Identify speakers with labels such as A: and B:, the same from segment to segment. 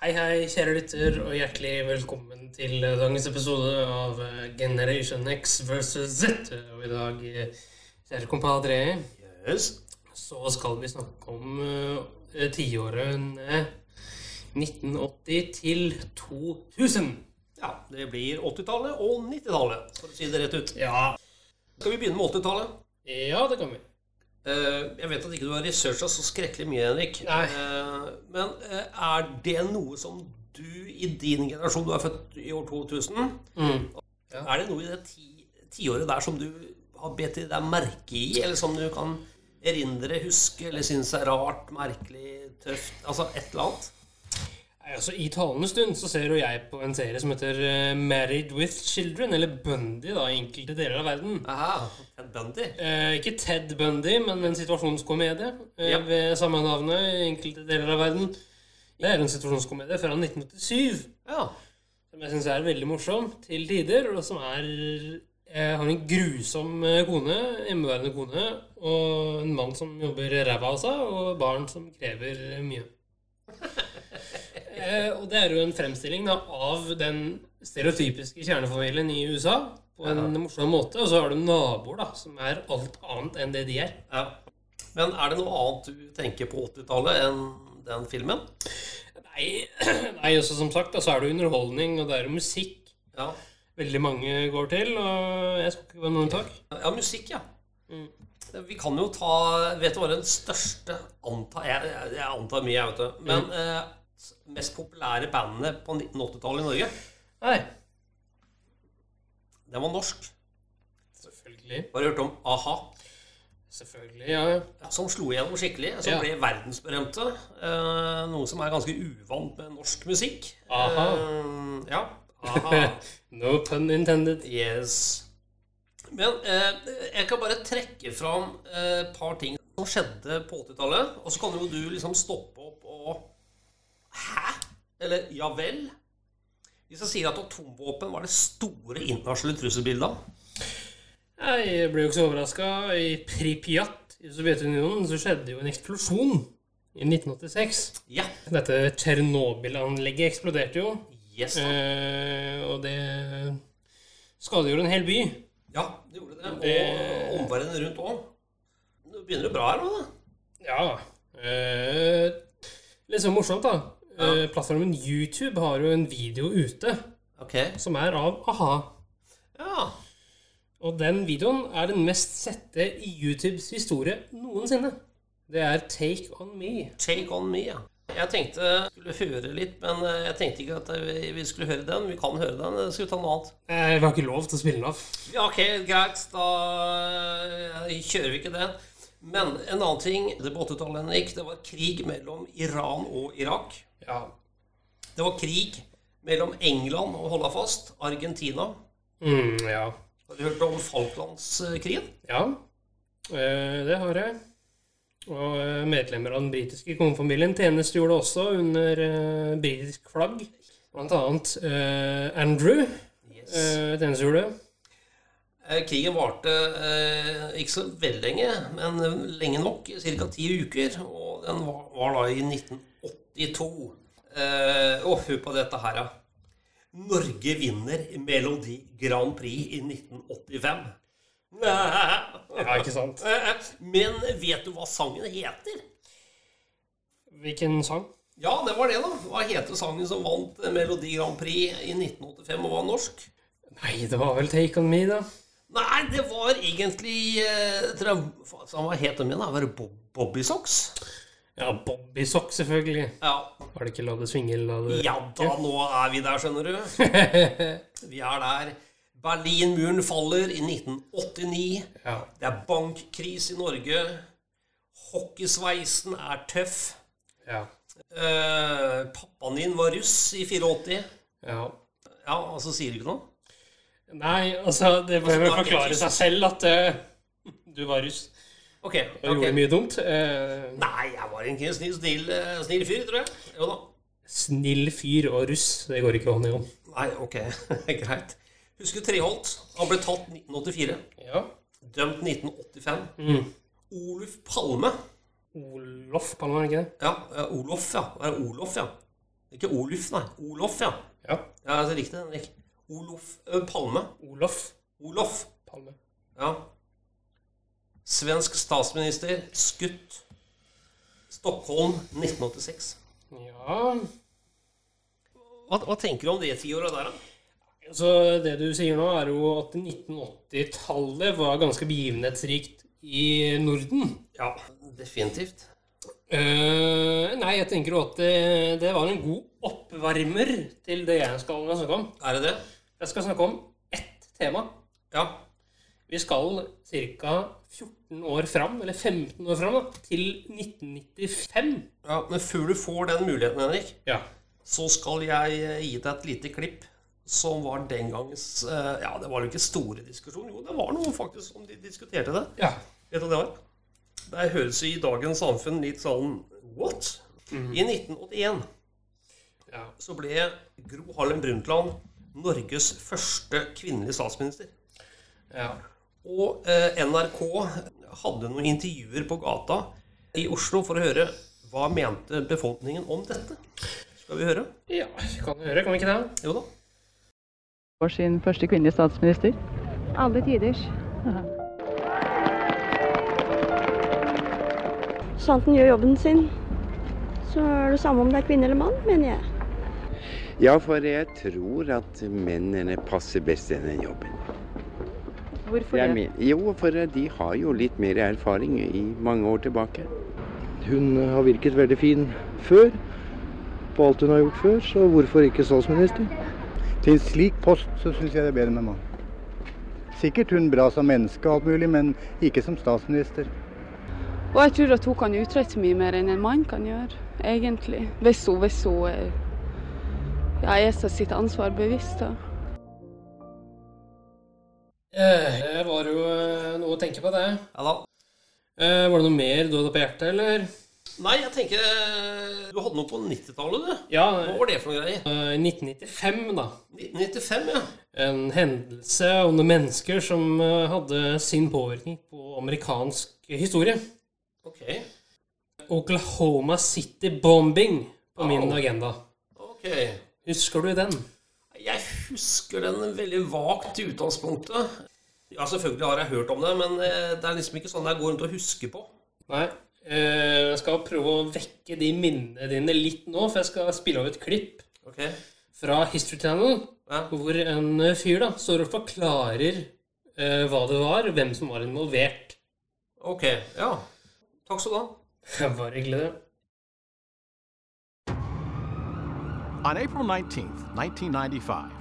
A: Hei, hei, kjære lytter, og hjertelig velkommen til eh, dagens episode av eh, Generation X versus Z. Og i dag, eh, kjære kompadre, så skal vi snakke om eh, tiårene 1980 til 2000.
B: Ja, det blir 80-tallet og 90-tallet, for å si det rett ut.
A: Ja.
B: Skal vi begynne med 80-tallet?
A: Ja, det kan vi.
B: Eh, jeg vet at ikke du har researcha så skrekkelig mye, Henrik.
A: Nei.
B: Eh, men eh, er det noe som du i din generasjon, du er født i år 2000, er det noe i det ti- tiåret der som du har bedt deg merke i, eller som du kan erindre, huske, eller synes er rart, merkelig, tøft? Altså et eller annet?
A: Nei, Altså, I talende stund så ser jo jeg på en serie som heter eh, Married with Children, eller Bundy, da, i enkelte deler av verden.
B: Aha, Ted Bundy.
A: Eh, ikke Ted Bundy, men en situasjonskomedie eh,
B: Ja.
A: ved samme navnet i enkelte deler av verden. Det er en situasjonskomedie fra 1987
B: Ja.
A: som jeg syns er veldig morsom til tider, og som er eh, har en grusom eh, kone, hjemmeværende kone, og en mann som jobber ræva av seg, og barn som krever eh, mye. Eh, og det er jo en fremstilling da, av den stereotypiske kjernefamilien i USA på en morsom måte. Og så har du naboer da, som er alt annet enn det de er.
B: ja. Men er det noe annet du tenker på 80-tallet enn den filmen?
A: Nei, nei også som sagt, da, så er det jo underholdning, og det er jo musikk
B: Ja.
A: veldig mange går til. Og jeg skal ikke være noe unntak.
B: Ja, musikk, ja.
A: Mm.
B: Vi kan jo ta Vet du hva den største antar, jeg, jeg- jeg antar mye, jeg, vet du. Men
A: Mm.
B: eh, mest populære bandene på 1980-tallet i Norge,
A: Nei.
B: den var norsk.
A: Selvfølgelig.
B: Har du hørt om a-ha?
A: Selvfølgelig, ja. ja.
B: Som slo igjennom skikkelig. Som
A: Ja.
B: ble verdensberømte. Eh, noe som er ganske uvant med norsk musikk.
A: A-ha.
B: Eh, ja. A-ha.
A: No pun intended.
B: Yes. Men eh, jeg kan bare trekke fram eh, et par ting som skjedde på 80-tallet. Og så kan jo du liksom stoppe opp og Hæ? Eller ja vel? Hvis jeg sier at atomvåpen var det store internasjonale trusselbildet
A: Jeg ble jo ikke så overraska. I Pripjat i Sovjetunionen så skjedde jo en eksplosjon i 1986.
B: Ja.
A: Dette Tsjernobyl-anlegget eksploderte jo,
B: Yes. da.
A: eh, og det skadegjorde en hel by.
B: Ja, det gjorde det.
A: det-
B: Og omverdenen rundt òg. Nå begynner det bra her nå, da.
A: Ja. Eh, litt så morsomt, da. Eh, plattformen YouTube har jo en video ute
B: Ok.
A: som er av a-ha.
B: Ja.
A: Og den videoen er den mest sette i YouTubes historie noensinne. Det er Take On Me.
B: Take On Me, ja. Jeg tenkte jeg skulle høre litt, men eh, jeg tenkte ikke at eh, vi- vi skulle høre den. Vi kan høre den. Skal vi ta noe annet?
A: Eh, Vi har ikke lov til å spille den av.
B: Ja, ok, greit. Da eh, kjører vi ikke den. Men en annen ting det på 80-tallet Henrik, det var krig mellom Iran og Irak.
A: Ja.
B: Det var krig mellom England og holda fast, Argentina.
A: Mm, ja.
B: Har du hørt om Falklandskrigen?
A: ja. Eh, Det har jeg. Og eh, medlemmer av den britiske kongefamilien tjenestegjorde også under eh, britisk flagg. Blant annet eh, Andrew
B: Yes.
A: eh, tjenestegjorde.
B: Eh, Krigen varte eh, ikke så veldig lenge, men eh, lenge nok, ca. ti uker. Og den var, var da i 1982. Eh, og hør på dette her, ja. Norge vinner Melodi Grand Prix i 1985.
A: Ja, ikke sant?
B: Men vet du hva sangen heter?
A: Hvilken sang?
B: Ja, det var det, da. Hva heter sangen som vant Melodi Grand Prix i 1985 og var norsk?
A: Nei, det var vel Take On Me, da.
B: Nei, det var egentlig eh, tror jeg, faen, så Hva het den min? da? Var det Bob, Bobby Socks?
A: Ja, Bobby Sock, selvfølgelig.
B: Ja.
A: Var det ikke La det swinge, la det
B: ja da, nå er vi der, skjønner du. Vi er der. Berlinmuren faller i 1989.
A: Ja.
B: Det er bankkrise i Norge. Hockeysveisen er tøff.
A: Ja.
B: Eh, pappaen din var russ i 84.
A: ja.
B: Ja, altså sier du ikke noe?
A: Nei, altså, det bør vel forklare seg selv at eh, Du var russ
B: Ok.
A: og gjorde
B: ok.
A: mye dumt. Eh,
B: Nei, jeg var egentlig en snill, snill, eh, snill fyr, tror jeg. Jo da.
A: snill fyr og russ, det går ikke hånd i hånd.
B: Nei, ok. Greit. Husker Treholt. Han ble tatt 1984.
A: Ja.
B: Dømt 1985.
A: Mm.
B: Oluf Palme.
A: Olof Palme, er det ikke det?
B: Ja, eh, Olof, ja. Det er Olof, ja. Ikke Oluf, nei. Olof, ja.
A: Ja.
B: Ja, altså, Riktig, Henrik. Olof eh, Palme.
A: Olof
B: Olof.
A: Palme.
B: Ja. Svensk statsminister. Skutt. Stockholm 1986.
A: Ja
B: Hva, hva tenker du om det tiåret der, da?
A: Så det du sier nå, er jo at 1980-tallet var ganske begivenhetsrikt i Norden.
B: Ja, definitivt.
A: Eh, nei, jeg tenker jo at det, det var en god oppvarmer til det jeg skal snakke om.
B: Er det det?
A: Jeg skal snakke om ett tema.
B: Ja.
A: Vi skal ca. 14 år fram, eller 15 år fram, da, til 1995.
B: ja. Men før du får den muligheten, Henrik,
A: Ja.
B: så skal jeg eh, gi deg et lite klipp som var den gangens eh, Ja, det var jo ikke store diskusjoner. Jo, det var noe faktisk som de diskuterte det.
A: ja.
B: Vet du hva det var? Det høres i dagens samfunn litt sånn What? I 1981
A: Ja.
B: så ble Gro Harlem Brundtland Norges første kvinnelige statsminister.
A: ja.
B: Og eh, NRK hadde noen intervjuer på gata i Oslo for å høre hva mente befolkningen om dette. Skal vi høre?
A: Ja, vi kan høre, kan vi ikke det?
B: Jo da.
C: får sin første kvinnelige statsminister.
D: Alle tiders.
E: Så sant den gjør jobben sin, så er det samme om det er kvinne eller mann, mener jeg.
F: Ja, for jeg tror at mennene passer best i den jobben.
D: Hvorfor
F: Jeg
D: det?
F: men- jo, for de har jo litt mer erfaring i mange år tilbake.
G: Hun har virket veldig fin før, på alt hun har gjort før, så hvorfor ikke statsminister? Til slik post så syns jeg det er bedre med mann. Sikkert hun bra som menneske og alt mulig, men ikke som statsminister.
D: Og jeg tror at hun kan utrette mye mer enn en mann kan gjøre, egentlig. Hvis hun, hvis hun eh, ja, er seg sitt ansvar bevisst, da.
A: Eh, Det var jo eh, noe å tenke på, det.
B: Ja da.
A: Eh, var det noe mer du hadde på hjertet, eller?
B: Nei, jeg tenker eh, Du hadde noe på 90-tallet, du.
A: Ja,
B: Hva var det for noe greier?
A: eh, 1995, da.
B: 1995, ja.
A: En hendelse om noen mennesker som eh, hadde sin påvirkning på amerikansk historie.
B: Ok.
A: Oklahoma City bombing på min
B: Au.
A: agenda.
B: Ok.
A: Husker du den?
B: Jeg husker den veldig vagt i utgangspunktet. Ja, selvfølgelig har jeg hørt om det, men eh, det er liksom ikke sånn jeg går rundt og husker på.
A: Nei. Eh, Jeg skal prøve å vekke de minnene dine litt nå, for jeg skal spille av et klipp
B: Ok?
A: fra History Channel,
B: Ja.
A: hvor en eh, fyr da står og forklarer eh, hva det var, hvem som var involvert.
B: Ok, ja. Takk skal du ha.
A: Bare hyggelig, det.
H: On April 19, 1995,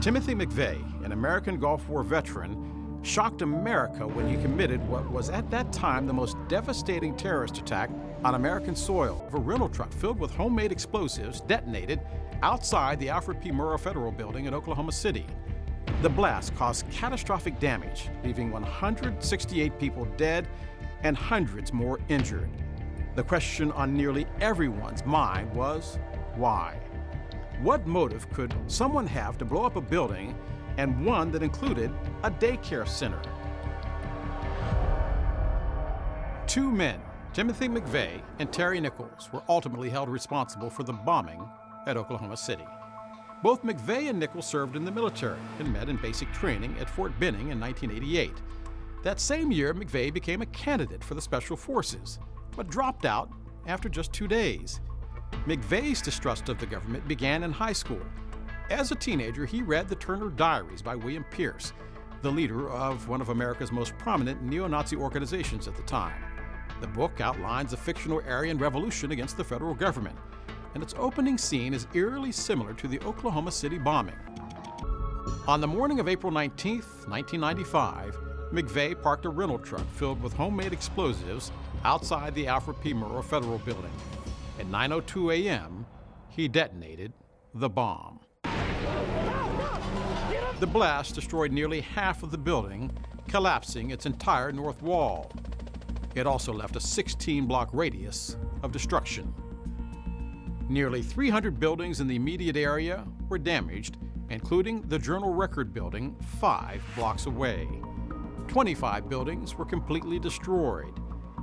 H: Timothy McVeigh, an American Gulf War veteran, shocked America when he committed what was at that time the most devastating terrorist attack on American soil. A rental truck filled with homemade explosives detonated outside the Alfred P. Murrah Federal Building in Oklahoma City. The blast caused catastrophic damage, leaving 168 people dead and hundreds more injured. The question on nearly everyone's mind was why? What motive could someone have to blow up a building and one that included a daycare center? Two men, Timothy McVeigh and Terry Nichols, were ultimately held responsible for the bombing at Oklahoma City. Both McVeigh and Nichols served in the military and met in basic training at Fort Benning in 1988. That same year, McVeigh became a candidate for the Special Forces, but dropped out after just two days. McVeigh's distrust of the government began in high school. As a teenager, he read the Turner Diaries by William Pierce, the leader of one of America's most prominent neo Nazi organizations at the time. The book outlines a fictional Aryan revolution against the federal government, and its opening scene is eerily similar to the Oklahoma City bombing. On the morning of April 19, 1995, McVeigh parked a rental truck filled with homemade explosives outside the Alfred P. Murrah Federal Building. At 9:02 a.m., he detonated the bomb. The blast destroyed nearly half of the building collapsing its entire north wall. It also left a 16 block radius of destruction. Nearly 300 buildings in the immediate area were damaged, including the Journal Record Building five blocks away. 25 buildings were completely destroyed.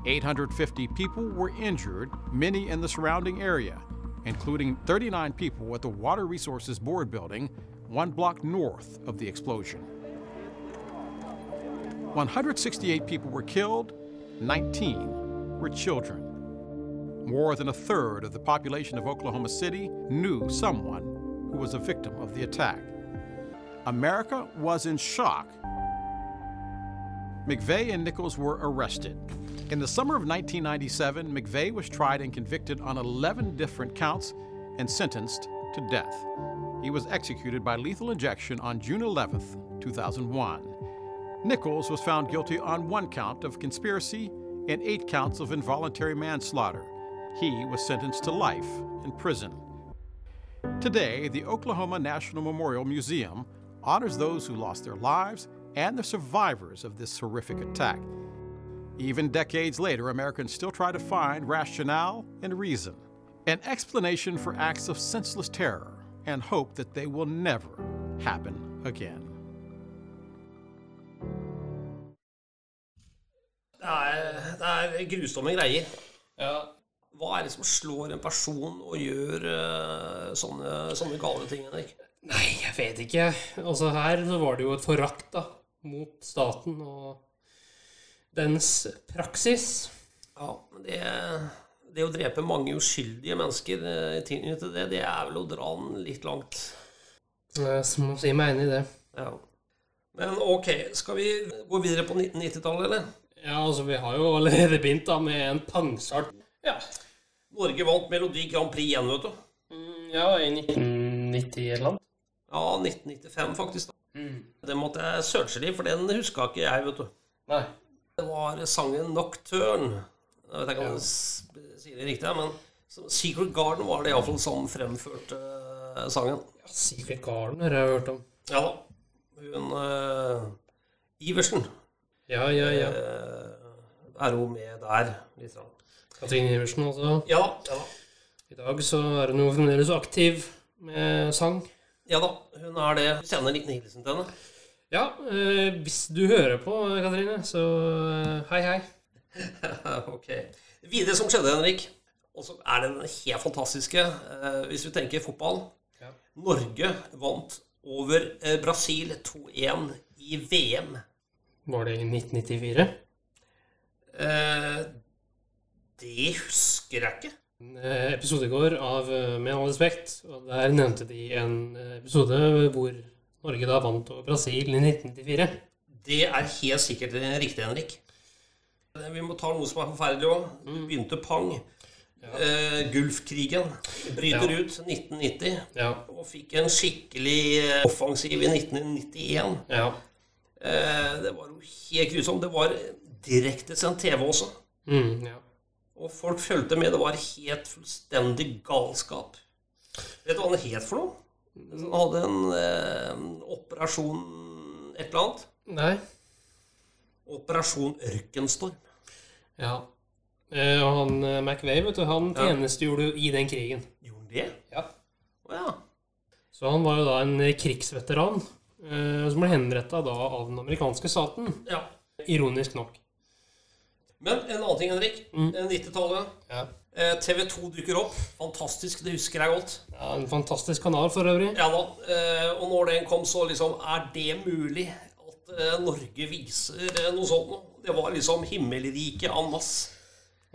H: 850 people were injured, many in the surrounding area, including 39 people at the Water Resources Board building, one block north of the explosion. 168 people were killed, 19 were children. More than a third of the population of Oklahoma City knew someone who was a victim of the attack. America was in shock. McVeigh and Nichols were arrested. In the summer of 1997, McVeigh was tried and convicted on 11 different counts and sentenced to death. He was executed by lethal injection on June 11, 2001. Nichols was found guilty on one count of conspiracy and eight counts of involuntary manslaughter. He was sentenced to life in prison. Today, the Oklahoma National Memorial Museum honors those who lost their lives and the survivors of this horrific attack. Even decades later, Americans still try to find rationale and reason, an explanation for acts of senseless terror, and hope that they will never happen again.
B: Det er, det er grusomme greier.
A: Ja.
B: Hva er det som slår en person og gjør eh, sånne, sånne gale ting, Henrik?
A: Nei, jeg vet ikke. Altså her så var det jo et forakt da, mot staten og dens praksis.
B: Ja, men det, det å drepe mange uskyldige mennesker eh, i tilknytning til det, det er vel å dra den litt langt.
A: Eh, Så må jeg si meg enig i det.
B: Ja. Men ok, skal vi gå videre på 1990-tallet, eller?
A: Ja, altså vi har jo allerede begynt da med en pangstart. Ja,
B: Norge vant Melodi Grand Prix igjen, vet du.
A: Mm, ja i 1990 et Mm, eller annet.
B: Ja, 1995 faktisk. da. Det måtte jeg searche litt, for den huska ikke jeg, vet du.
A: Nei.
B: Det var sangen 'Nocturne'. Jeg vet ikke om jeg s- sier det riktig, men som- 'Secret Garden' var det iallfall som fremførte eh, sangen.
A: Ja, Secret Garden har jeg hørt om.
B: Ja da. Hun eh, Iversen
A: Ja, ja, ja.
B: eh, er hun med der. Litt sånn.
A: Katrine Iversen også.
B: Ja da. Ja da.
A: I dag så er hun jo fremdeles aktiv med sang.
B: Ja da, hun er det. Vi sender en liten hilsen til henne.
A: Ja, eh, hvis du hører på, Katrine, så eh, hei, hei.
B: ok. Videre som skjedde, Henrik. Og så er det den helt fantastiske, eh, hvis du tenker fotball.
A: Ja.
B: Norge vant over eh, Brasil 2-1 i VM.
A: Var det i 1994?
B: Eh, det husker jeg ikke.
A: En eh, episode i går av eh, Med all respekt, og der nevnte de en eh, episode hvor Norge da vant over Brasil i 1994.
B: Det er helt sikkert riktig, Henrik. Eh, Vi må ta noe som er forferdelig òg. Du begynte pang. Eh, Gulfkrigen bryter
A: Ja.
B: ut 1990
A: Ja.
B: og fikk en skikkelig eh, offensiv i 1991.
A: Ja.
B: Eh, Det var jo helt grusomt. Det var direktesendt TV også.
A: Mm, ja.
B: Og folk fulgte med. Det var helt fullstendig galskap. Vet du hva han het for noe? Han hadde en eh, operasjon et eller annet.
A: Nei.
B: Operasjon Ørkenstorm.
A: Ja. Eh, og han eh, McVeigh, vet du, han tjenestegjorde jo i den krigen.
B: Gjorde han det?
A: Ja.
B: Å ja.
A: Så han var jo da en eh, krigsveteran eh, som ble henretta da av den amerikanske staten.
B: ja.
A: Ironisk nok.
B: Men en annen ting, Henrik. Eh, 90-tallet.
A: Ja.
B: Eh, TV2 dukker opp. Fantastisk. Det husker jeg godt.
A: Ja, en fantastisk kanal for øvrig.
B: Ja da. eh, Og når den kom, så liksom Er det mulig at eh, Norge viser eh, noe sånt nå? Det var liksom himmelriket en masse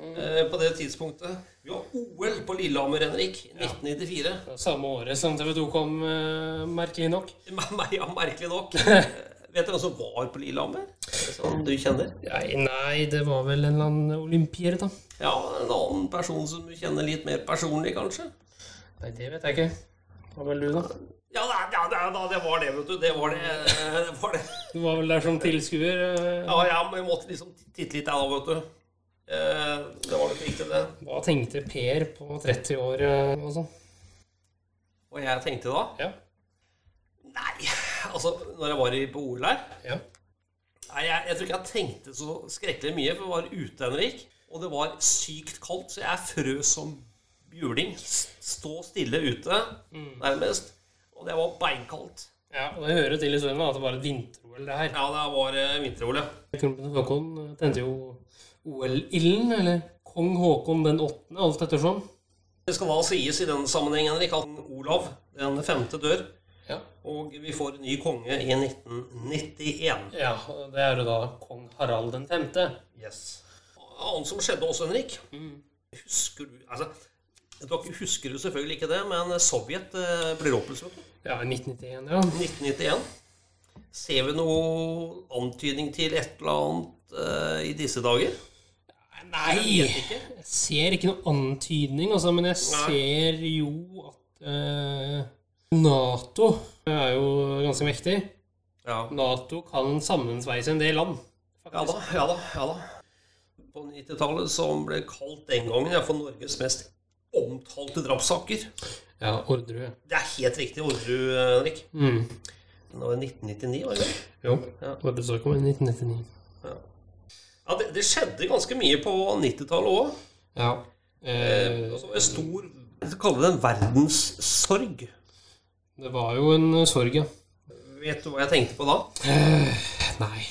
B: eh, på det tidspunktet. Vi har OL på Lillehammer, Henrik. 1994.
A: Samme året som TV 2 kom, eh, merkelig nok.
B: Meg, ja, merkelig nok. Eh, Vet du hvem som var på Lillehammer? Som du kjenner?
A: Nei, nei, det var vel en eller annen olympier, da.
B: Ja, en annen person som du kjenner litt mer personlig, kanskje?
A: Nei, det vet jeg ikke. Hva vel du, da?
B: Ja, da, ja, da, da, det var det, vet du. Det var det. eh, det, var det.
A: Du var vel der som tilskuer? eh.
B: Ja, ja, men jeg måtte liksom titte litt, jeg da, vet du. Eh, Det var nok riktig, det.
A: Hva tenkte Per på 30 år eh, og sånn?
B: Og jeg tenkte da
A: Ja.
B: Nei, altså når jeg var i- på OL her
A: Ja.
B: Nei, jeg, jeg tror ikke jeg tenkte så skrekkelig mye, for jeg var ute, Henrik. Og det var sykt kaldt, så jeg frøs som juling. S- Stå stille ute, nærmest. Og det var beinkaldt.
A: Ja, og Det hører til historien da, at det var et vinter-OL, det her.
B: Ja, det var eh, vinter-OL, ja.
A: Kronprins Haakon tente eh, jo OL-ilden, eller kong Haakon den åttende, alt ettersom.
B: Det skal da sies i den sammenheng, Henrik, at Olav den femte dør.
A: Ja.
B: Og vi får ny konge i 1991.
A: Ja, og det er jo da kong Harald den femte.
B: Yes. Annet som skjedde også, Henrik Husker du Altså, dere husker jo selvfølgelig ikke det, men Sovjet eh, blir opphevet.
A: Ja, i 1991, ja.
B: 1991. Ser vi noe antydning til et eller annet eh, i disse dager?
A: Nei!
B: Jeg vet ikke.
A: Jeg ser ikke noe antydning, altså, men jeg ser jo at eh, Nato er jo ganske mektig.
B: Ja.
A: Nato kan sammensveise en del land.
B: ja da, ja da. ja da. På 90-tallet, som ble kalt den gangen ja, for Norges mest omtalte drapssaker.
A: Ja, Orderud.
B: Det er helt riktig Orderud, Henrik.
A: Mm.
B: Det var i 1999, var det ikke?
A: Jo,
B: Ja.
A: Orderud kom i 1999.
B: Ja, det, det skjedde ganske mye på 90-tallet òg.
A: Ja.
B: Eh,
A: Eh,
B: altså, en stor Jeg skal kalle det en verdenssorg.
A: det var jo en eh, sorg, ja.
B: Vet du hva jeg tenkte på da?
A: Nei.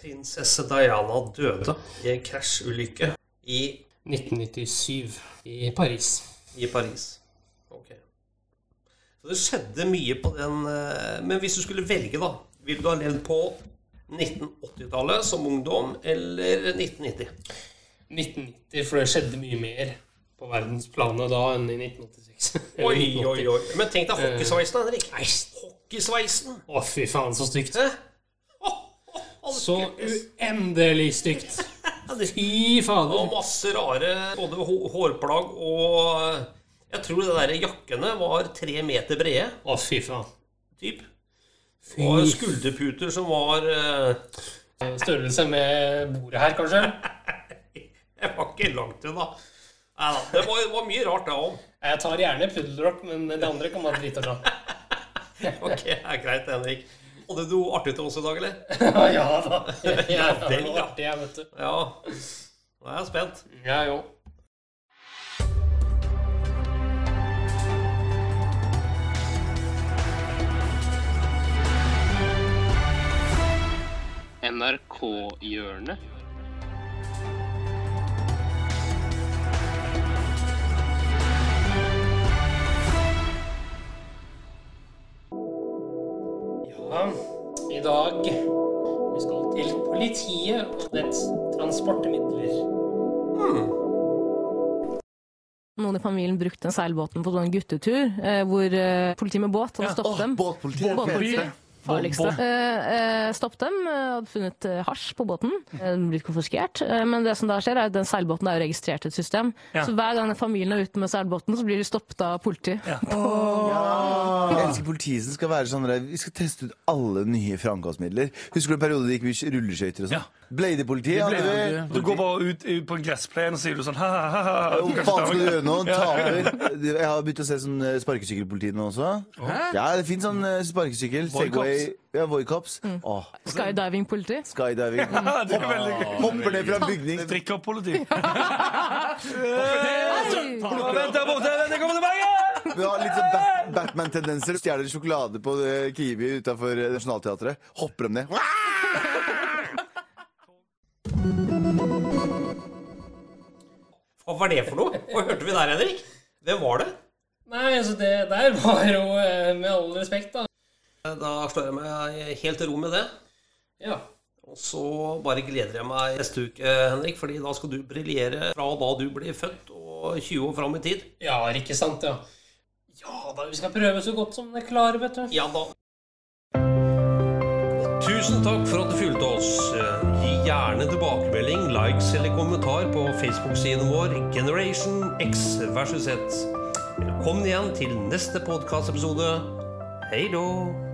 B: Prinsesse Diana døde i en krasjulykke i,
A: 1997 i Paris.
B: i Paris. Ok. Så det skjedde mye på den eh, Men hvis du skulle velge, da Vil du ha levd på 1980-tallet som ungdom eller 1990?
A: 1990, for det skjedde mye mer på verdensplanet da enn i 1986. Eller
B: Oi, Eh. oi,
A: 1980.
B: oi. Men tenk deg hockeysveisen, da, Henrik. Hockeysveisen!
A: Å, fy faen, så stygt.
B: Hæ? Å, å, alle
A: Så
B: skulle-
A: uendelig stygt. Fy
B: Og
A: fader.
B: masse rare både hå- hårplagg og eh, Jeg tror det der jakkene var tre meter brede.
A: Å, fy faen.
B: Typ.
A: Fy
B: Og skulderputer som var eh,
A: Størrelse med bordet her, kanskje?
B: Jeg var ikke langt unna. Nei da. Det var, det var mye rart, det òg.
A: Jeg tar gjerne puddelrock, men det andre kan man drite av.
B: Ok, det er greit, Henrik. Hadde du noe artig til oss i dag, eller?
A: Ja da. Ja, det
B: vel,
A: var
B: ja.
A: artig, jeg, vet du.
B: Ja. Nå er jeg spent.
A: Ja, jo. NRK-hjørnet. Ja, i dag vi skal til politiet og dets transportmidler.
I: Noen i familien brukte den seilbåten på sånn guttetur, eh, hvor eh, politiet med båt hadde stoppet dem. Båtpolitiet. Farligste. Eh, eh, stoppet dem, eh, hadde funnet eh, hasj på båten. Eh, den blitt konfiskert. Eh, men det som da skjer, er at den seilbåten er jo registrert i et system. Så hver gang den familien er ute med seilbåten, så blir de stoppet av politiet.
J: Jeg elsker politiet som skal være sånn der, Vi skal teste ut alle nye framkomstmidler. Husker du en periode det gikk mye rulleskøyter og sånn? Bladepolitiet. hadde vi.
H: Du går bare ut på en gressplen og sier du sånn ha-ha-ha.
J: Hva faen skal du gjøre nå? Ta over. Jeg har begynt å se sånn eh, sparkesykkelpoliti nå også. Ja, det fins sånn eh, sparkesykkel. Segway. Ja, Voicops.
H: Mm.
J: Åh,
I: Skydiving-politi.
J: skydiving. Hopper ned fra en bygning.
H: Drikkepoliti.
J: Vent der borte, den kommer tilbake! Vi har litt sånn Bat Batman-tendenser. Stjeler sjokolade på eh, Kiwi utafor Nationaltheatret. Hopper dem ned.
B: Hva var det for noe? Hva hørte vi der, Henrik? Hvem var det?
A: Nei, altså det der var jo eh, med all respekt, da.
B: Da slår jeg meg helt til ro med det.
A: Ja.
B: Og så bare gleder jeg meg neste uke, Henrik, fordi da skal du briljere fra da du ble født og 20 år fram i tid.
A: ja, ikke sant, ja. Ja da, vi skal prøve så godt som det klarer, vet du.
B: Ja da. Tusen takk for at du fulgte oss. Gi gjerne tilbakemelding, likes eller kommentar på Facebook-siden vår Generation X versus Z. Velkommen igjen til neste podkastepisode. Hei då.